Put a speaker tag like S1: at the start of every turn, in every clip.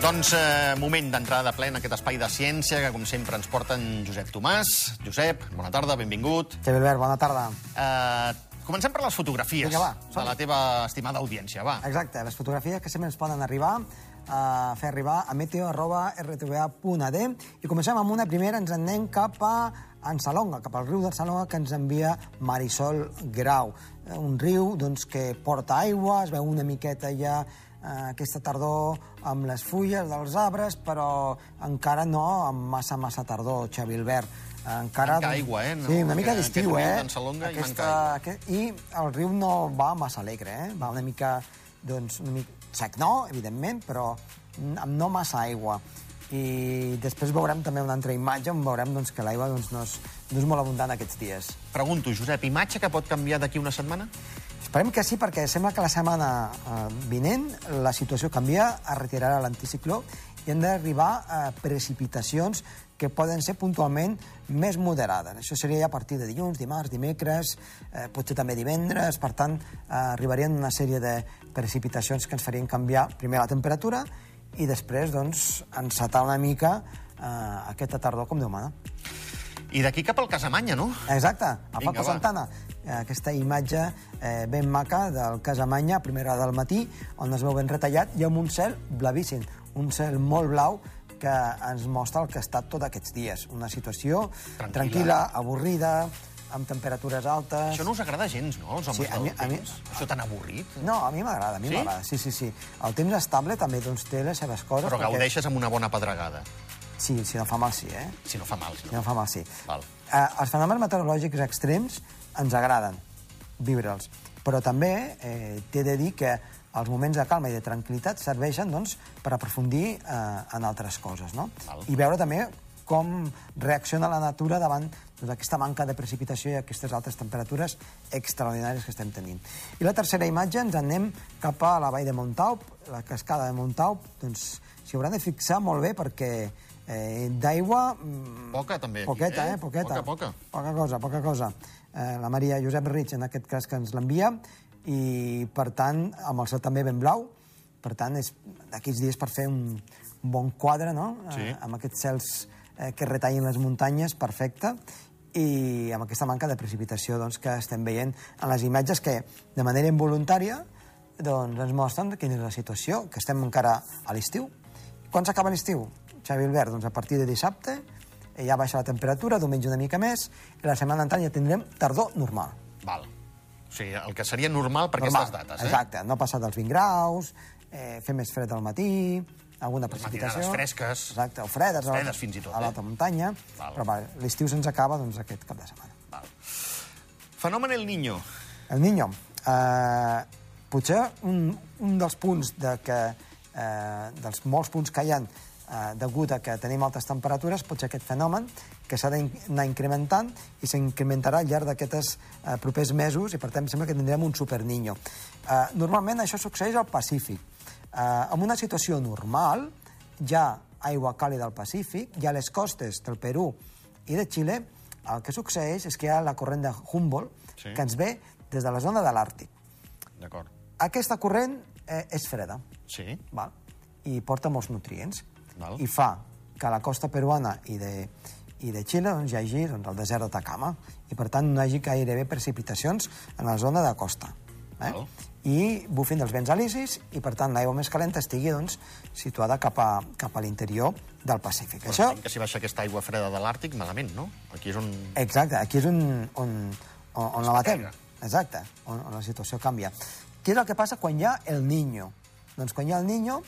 S1: Doncs eh, moment d'entrada de ple en aquest espai de ciència que, com sempre, ens porta en Josep Tomàs. Josep, bona tarda, benvingut.
S2: Sí, Bilbert, bona tarda.
S1: Eh, comencem per les fotografies
S2: Vinga, va,
S1: de la teva estimada audiència, va.
S2: Exacte, les fotografies que sempre ens poden arribar a fer arribar a meteo.rtva.d i comencem amb una primera, ens en anem cap a Ansalonga, cap al riu d'Ansalonga que ens envia Marisol Grau. Eh, Un riu doncs, que porta aigua, es veu una miqueta ja eh, aquesta tardor amb les fulles dels arbres, però encara no amb massa, massa tardor, Xavi Albert. Encara,
S1: Manca aigua, eh? No?
S2: Sí, una mica
S1: Aquest
S2: d'estiu,
S1: riu
S2: eh?
S1: d'Ansalonga hi manca aigua.
S2: Aquest, I el riu no va massa alegre, eh? va una mica, doncs, una mica sec, no, evidentment, però n- amb no massa aigua. I després veurem també una altra imatge on veurem doncs, que l'aigua doncs, no, és, no és molt abundant aquests dies.
S1: Pregunto, Josep, imatge que pot canviar d'aquí una setmana?
S2: Esperem que sí, perquè sembla que la setmana eh, vinent la situació canvia, es retirarà l'anticicló i han d'arribar a precipitacions que poden ser puntualment més moderades. Això seria ja a partir de dilluns, dimarts, dimecres, eh, potser també divendres. Per tant, eh, arribarien una sèrie de precipitacions que ens farien canviar primer la temperatura i després doncs, encetar una mica eh, aquesta tardor com Déu mana.
S1: I d'aquí cap al Casamanya, no?
S2: Exacte, a
S1: Vinga,
S2: Paco
S1: va.
S2: Santana. Eh, Aquesta imatge eh, ben maca del Casamanya a primera hora del matí, on es veu ben retallat, i amb un cel blavíssim, un cel molt blau que ens mostra el que ha estat tot aquests dies. Una situació
S1: Tranquil·la.
S2: tranquil·la, tranquil·la avorrida, amb temperatures altes...
S1: Això no us agrada gens, no, als homes
S2: Sí, a mi-
S1: del
S2: a mi-
S1: temps? Això tan avorrit.
S2: No, a mi m'agrada, a mi
S1: Sí?
S2: m'agrada. Sí, sí, sí. El temps estable també doncs, té les seves coses.
S1: Però
S2: perquè-
S1: gaudeixes amb una bona pedregada,
S2: Sí, si no fa mal, sí, eh?
S1: si no fa mal.
S2: Ja
S1: No?
S2: em fa mal, sí.
S1: Val.
S2: Eh, els fenòmens meteorològics extrems ens agraden, viure'ls. Però també eh, t'he de dir que els moments de calma i de tranquil·litat serveixen doncs, per aprofundir eh, en altres coses. No?
S1: Val.
S2: I veure també com reacciona la natura davant doncs, aquesta manca de precipitació i aquestes altes temperatures extraordinàries que estem tenint. I la tercera imatge ens en anem cap a la vall de Montaup, la cascada de Montaup, doncs s'hi hauran de fixar molt bé perquè eh, d'aigua mm,
S1: Poca, també, aquí,
S2: Poqueta,
S1: eh?
S2: eh?
S1: Poca,
S2: Poqueta.
S1: poca.
S2: Poca cosa, poca cosa. Eh, la Maria Josep Rich, en aquest cas, que ens l'envia, i, per tant, amb el cel també ben blau, per tant, és d'aquests dies per fer un, un bon quadre, no?,
S1: Sí.
S2: amb aquests cels eh, que retallen les muntanyes, perfecte, i amb aquesta manca de precipitació doncs, que estem veient en les imatges que, de manera involuntària, doncs, ens mostren quina és la situació, que estem encara a l'estiu. Quan s'acaba l'estiu, Xavi Albert? Doncs a partir de dissabte eh, ja baixa la temperatura, diumenge una mica més, i la setmana entrant ja tindrem tardor normal.
S1: Val. O sigui, el que seria normal per
S2: normal.
S1: aquestes dates, eh?
S2: Exacte, no passar dels 20 graus, eh, fer més fred al matí, alguna precipitació...
S1: matinades fresques.
S2: Exacte, o fredes, a la-
S1: Fredes fins i tot,
S2: a l'alta
S1: eh?
S2: muntanya.
S1: Val.
S2: Però va, l'estiu se'ns acaba doncs, aquest cap de setmana.
S1: Val. Fenomen El Niño.
S2: El Niño, eh, potser un, un dels punts de que, eh, dels molts punts que hi ha eh, degut a que tenim altes temperatures, pot ser aquest fenomen que s'ha d'anar incrementant i s'incrementarà al llarg d'aquests eh, propers mesos i, per tant, sembla que tindrem un superniño. Eh, normalment això succeeix al Pacífic. Eh, en una situació normal, hi ha aigua càlida al Pacífic, hi ha les costes del Perú i de Xile, el que succeeix és que hi ha la corrent de Humboldt,
S1: Sí.
S2: sí. que ens ve des de la zona de l'Àrtic.
S1: D'acord.
S2: Aquesta corrent eh, és freda
S1: Sí.
S2: val? i porta molts nutrients
S1: Val.
S2: i fa que a la costa peruana i de, i de Xile doncs, hi hagi doncs, el desert d'Atacama i per tant no hi hagi gairebé precipitacions en la zona de costa. Eh?
S1: Val.
S2: I bufin dels vents alicis i per tant l'aigua més calenta estigui doncs, situada cap a, cap a l'interior del Pacífic.
S1: Però
S2: Això
S1: entenc que si baixa aquesta aigua freda de l'Àrtic, malament, no? Aquí és on...
S2: Exacte, aquí és on, on, on, on la batem.
S1: pega.
S2: Exacte, on, on la situació canvia. Què és el que passa quan hi ha el niño? Doncs quan hi ha el niño,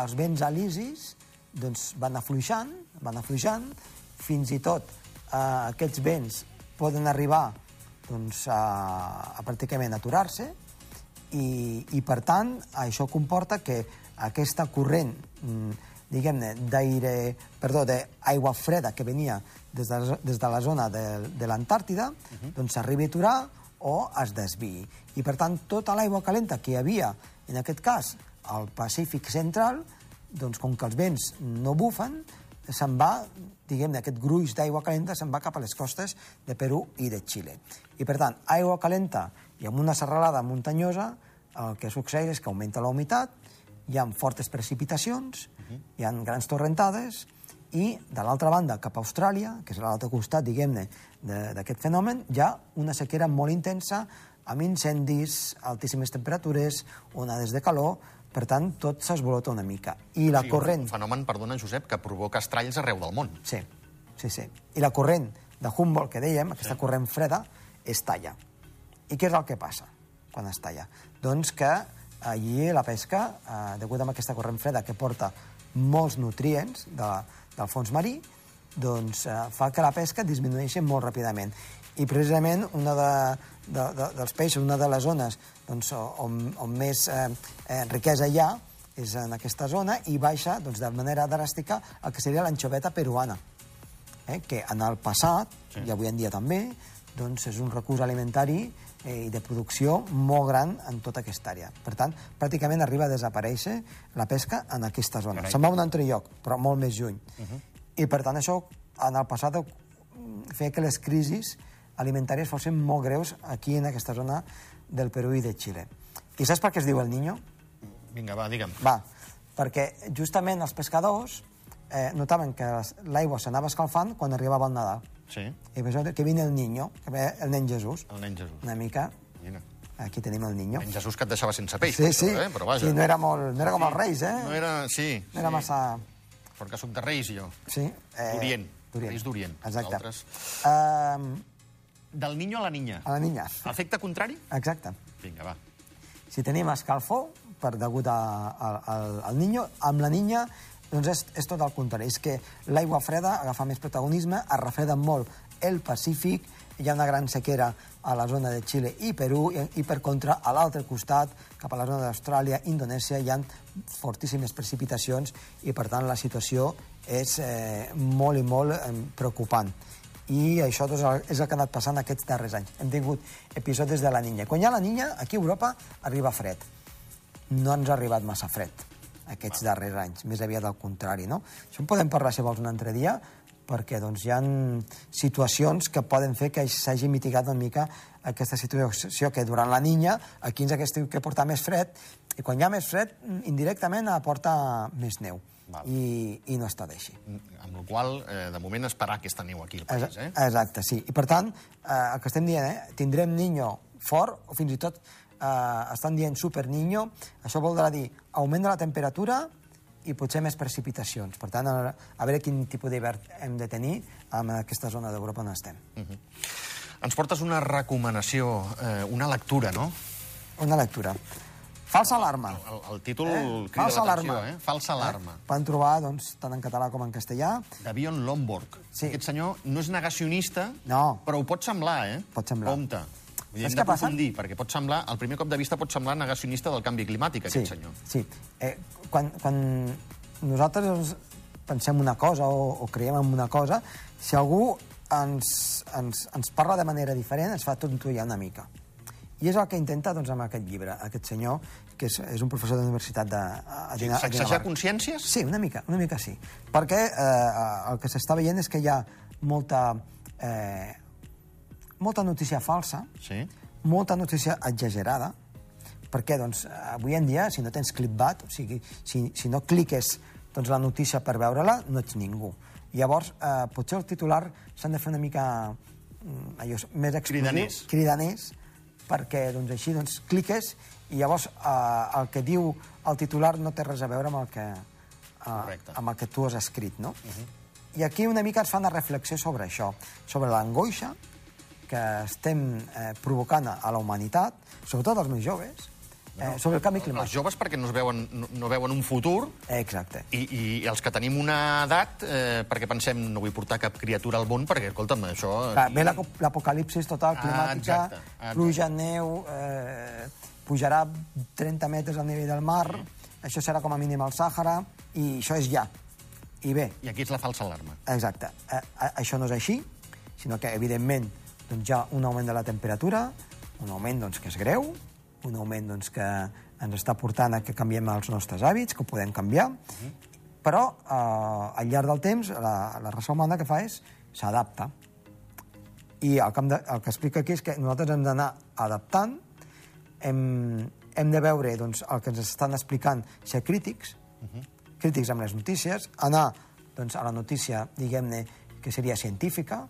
S2: els vents alisis doncs, van afluixant, van afluixant, fins i tot eh, aquests vents poden arribar doncs, a, a pràcticament aturar-se, i, i per tant això comporta que aquesta corrent mm, diguem-ne d'aire perdó, d'aigua freda que venia des de, la zo- des de la zona de, de l'Antàrtida doncs s'arribi a aturar o es desviï i per tant tota l'aigua calenta que hi havia en aquest cas al Pacífic Central doncs com que els vents no bufen se'n va, diguem-ne, aquest gruix d'aigua calenta se'n va cap a les costes de Perú i de Xile. I, per tant, aigua calenta i amb una serralada muntanyosa, el que succeeix és que augmenta la humitat hi ha fortes precipitacions, hi ha grans torrentades, i de l'altra banda, cap a Austràlia, que és a l'altre costat, diguem-ne, de- d'aquest fenomen, hi ha una sequera molt intensa, amb incendis, altíssimes temperatures, onades de calor, per tant, tot s'esvolota una mica. I la
S1: Sí, un-
S2: corrent...
S1: Un fenomen, perdona, Josep, que provoca estralls arreu del món.
S2: Sí, sí, sí. I la corrent de Humboldt que dèiem, aquesta corrent freda, es talla. I què és el que passa quan es talla? Doncs que allí la pesca, eh, degut a aquesta corrent freda que porta molts nutrients de, del fons marí, doncs eh, fa que la pesca disminueixi molt ràpidament. I precisament una de, de, de, dels peixos, una de les zones doncs, o- on, on més eh, eh, riquesa hi ha, és en aquesta zona i baixa doncs, de manera dràstica el que seria l'anxoveta peruana, eh? que en el passat, sí. i avui en dia també, doncs és un recurs alimentari eh, i de producció molt gran en tota aquesta àrea. Per tant, pràcticament arriba a desaparèixer la pesca en aquesta zona. Se'n va a un altre lloc, però molt més lluny. Uh -huh. I per tant, això en el passat mm, feia que les crisis alimentàries fossin molt greus aquí en aquesta zona del Perú i de Xile. I saps per què es diu el niño?
S1: Vinga, va, digue'm.
S2: Va, perquè justament els pescadors eh, notaven que les- l'aigua s'anava escalfant quan arribava el Nadal.
S1: Sí,
S2: I per això que vine el niño, que ve el nen Jesús.
S1: el nen Jesús.
S2: Una mica,
S1: Vine.
S2: aquí tenim el niño.
S1: Nen Jesús que et deixava sense peix,
S2: Sí,
S1: per
S2: sí,
S1: això, eh? però vaja.
S2: sí no, era molt, no era com els reis, eh?
S1: no era... Sí,
S2: No era
S1: sí.
S2: massa...
S1: Perquè sóc de Reis, jo.
S2: Sí. Eh,
S1: D'Orient. Reis d'Orient.
S2: Exacte.
S1: Nosaltres-
S2: Eh,
S1: Del niño a la niña.
S2: a la niña.
S1: Efecte contrari?
S2: Exacte.
S1: Vinga, va.
S2: Si tenim escalfor, per degut a, a, al, al niño, amb la niña doncs és, és tot el contrari. És que l'aigua freda agafa més protagonisme, es refreda molt el Pacífic, hi ha una gran sequera a la zona de Xile i Perú, i, i per contra, a l'altre costat, cap a la zona d'Austràlia, Indonèsia, hi ha fortíssimes precipitacions i, per tant, la situació és eh, molt i molt eh, preocupant. I això doncs, és el que ha anat passant aquests darrers anys. Hem tingut episodis de la niña. Quan hi ha la niña, aquí a Europa arriba fred. No ens ha arribat massa fred aquests darrers anys, més aviat al contrari, no? Això en podem parlar, si vols, un altre dia, perquè doncs, hi ha situacions que poden fer que s'hagi mitigat una mica aquesta situació que durant la niña, aquí ens hagués tingut que portar més fred, i quan hi ha més fred, indirectament aporta més neu.
S1: Val.
S2: I, I no està d'així.
S1: Amb la qual cosa, eh, de moment, esperar aquesta neu aquí al país, eh?
S2: Exacte, sí. I per tant, eh, el que estem dient, eh, tindrem niño fort, o fins i tot eh, estan dient super niño, això voldrà dir augment de la temperatura i potser més precipitacions. Per tant, a, a veure quin tipus d'hivern hem de tenir en aquesta zona d'Europa on estem.
S1: Ens portes una recomanació, eh, una lectura, no? Mm.
S2: Una lectura. Falsa alarma.
S1: El, el títol
S2: Eh?
S1: crida
S2: Falsa
S1: l'atenció,
S2: alarma.
S1: eh? Falsa alarma.
S2: Eh? Van trobar, doncs, tant en català com en castellà.
S1: De Bion Lomborg.
S2: Sí.
S1: Aquest senyor no és negacionista,
S2: No.
S1: però ho pot semblar, eh?
S2: Pot semblar.
S1: Compte. Vull dir, hem
S2: Saps què
S1: de
S2: passa?
S1: profundir, perquè pot semblar, al primer cop de vista pot semblar negacionista del canvi climàtic, aquest
S2: sí,
S1: senyor.
S2: Sí. Eh, quan, quan nosaltres doncs, pensem una cosa o, o creiem en una cosa, si algú ens, ens, ens parla de manera diferent, ens fa tontollar una mica. I és el que intenta doncs, amb aquest llibre, aquest senyor, que és, és un professor de la universitat de, a, a, Dina- a
S1: Sacsejar
S2: Dinamarca.
S1: consciències?
S2: Sí, una mica, una mica sí. Perquè eh, el que s'està veient és que hi ha molta, eh, molta notícia falsa,
S1: Sí.
S2: molta notícia exagerada, perquè doncs, avui en dia, si no tens clickbait, o sigui, si, si no cliques doncs, la notícia per veure-la, no ets ningú. Llavors, eh, potser el titular s'han de fer una mica mm, allò, més explosiu,
S1: Cridaners.
S2: cridaners perquè doncs, així doncs, cliques i llavors eh, el que diu el titular no té res a veure amb el que, eh,
S1: Correcte.
S2: amb el que tu has escrit. No? Uh -huh.
S1: Mhm.
S2: I aquí una mica es fa una reflexió sobre això, sobre l'angoixa que estem eh, provocant a la humanitat, sobretot als més joves, eh, sobre el canvi
S1: Els
S2: climàtic.
S1: joves perquè no, es veuen, no, no veuen un futur
S2: Eh, Exacte.
S1: i, i els que tenim una edat eh, perquè pensem no vull portar cap criatura al món perquè, escolta'm, això...
S2: Clar, ve la- l'apocalipsis total
S1: Doncs Ah,
S2: climàtica,
S1: exacte, Ah, exacte.
S2: pluja, neu, eh, pujarà 30 metres al nivell del mar, això serà com a mínim al Sàhara, i això és ja. I bé,
S1: I aquí és la falsa alarma.
S2: Exacte. Eh, a- això no és així, sinó que, evidentment, doncs, hi ha un augment de la temperatura, un augment doncs, que és greu, un augment doncs, que ens està portant a que canviem els nostres hàbits, que ho podem canviar, però eh, al llarg del temps la, la raça humana el que fa és s'adapta. I el, camp de, el que explica aquí és que nosaltres hem d'anar adaptant, hem, hem de veure doncs, el que ens estan explicant, ser crítics, uh -huh. crítics amb les notícies, anar doncs, a la notícia, diguem-ne, que seria científica,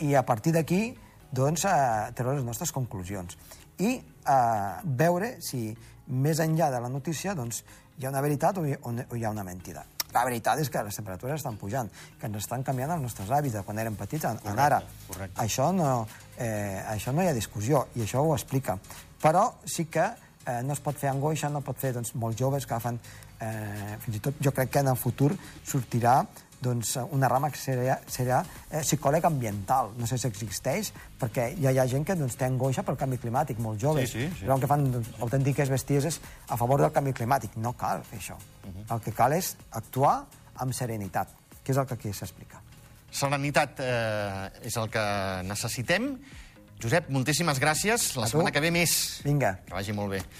S2: i a partir d'aquí doncs, eh, treure les nostres conclusions. I eh, veure si més enllà de la notícia doncs, hi ha una veritat o hi, o no- o hi ha una mentida. La veritat és que les temperatures estan pujant, que ens estan canviant els nostres hàbits de quan érem petits a, a ara.
S1: correcte.
S2: Això no, eh, això no hi ha discussió, i això ho explica. Però sí que eh, no es pot fer angoixa, no pot fer doncs, molts joves que agafen... Eh, fins i tot jo crec que en el futur sortirà doncs, una rama que serà, serà eh, psicòleg ambiental. No sé si existeix, perquè ja hi ha gent que doncs, té angoixa pel canvi climàtic, molt joves.
S1: Sí, sí, sí.
S2: Però el que fan doncs, autèntiques bestieses a favor del canvi climàtic. No cal fer això.
S1: Mhm.
S2: El que cal és actuar amb serenitat, que és el que aquí s'explica.
S1: Serenitat eh, és el que necessitem. Josep, moltíssimes gràcies. La
S2: tu.
S1: setmana que ve més.
S2: Vinga.
S1: Que vagi molt bé.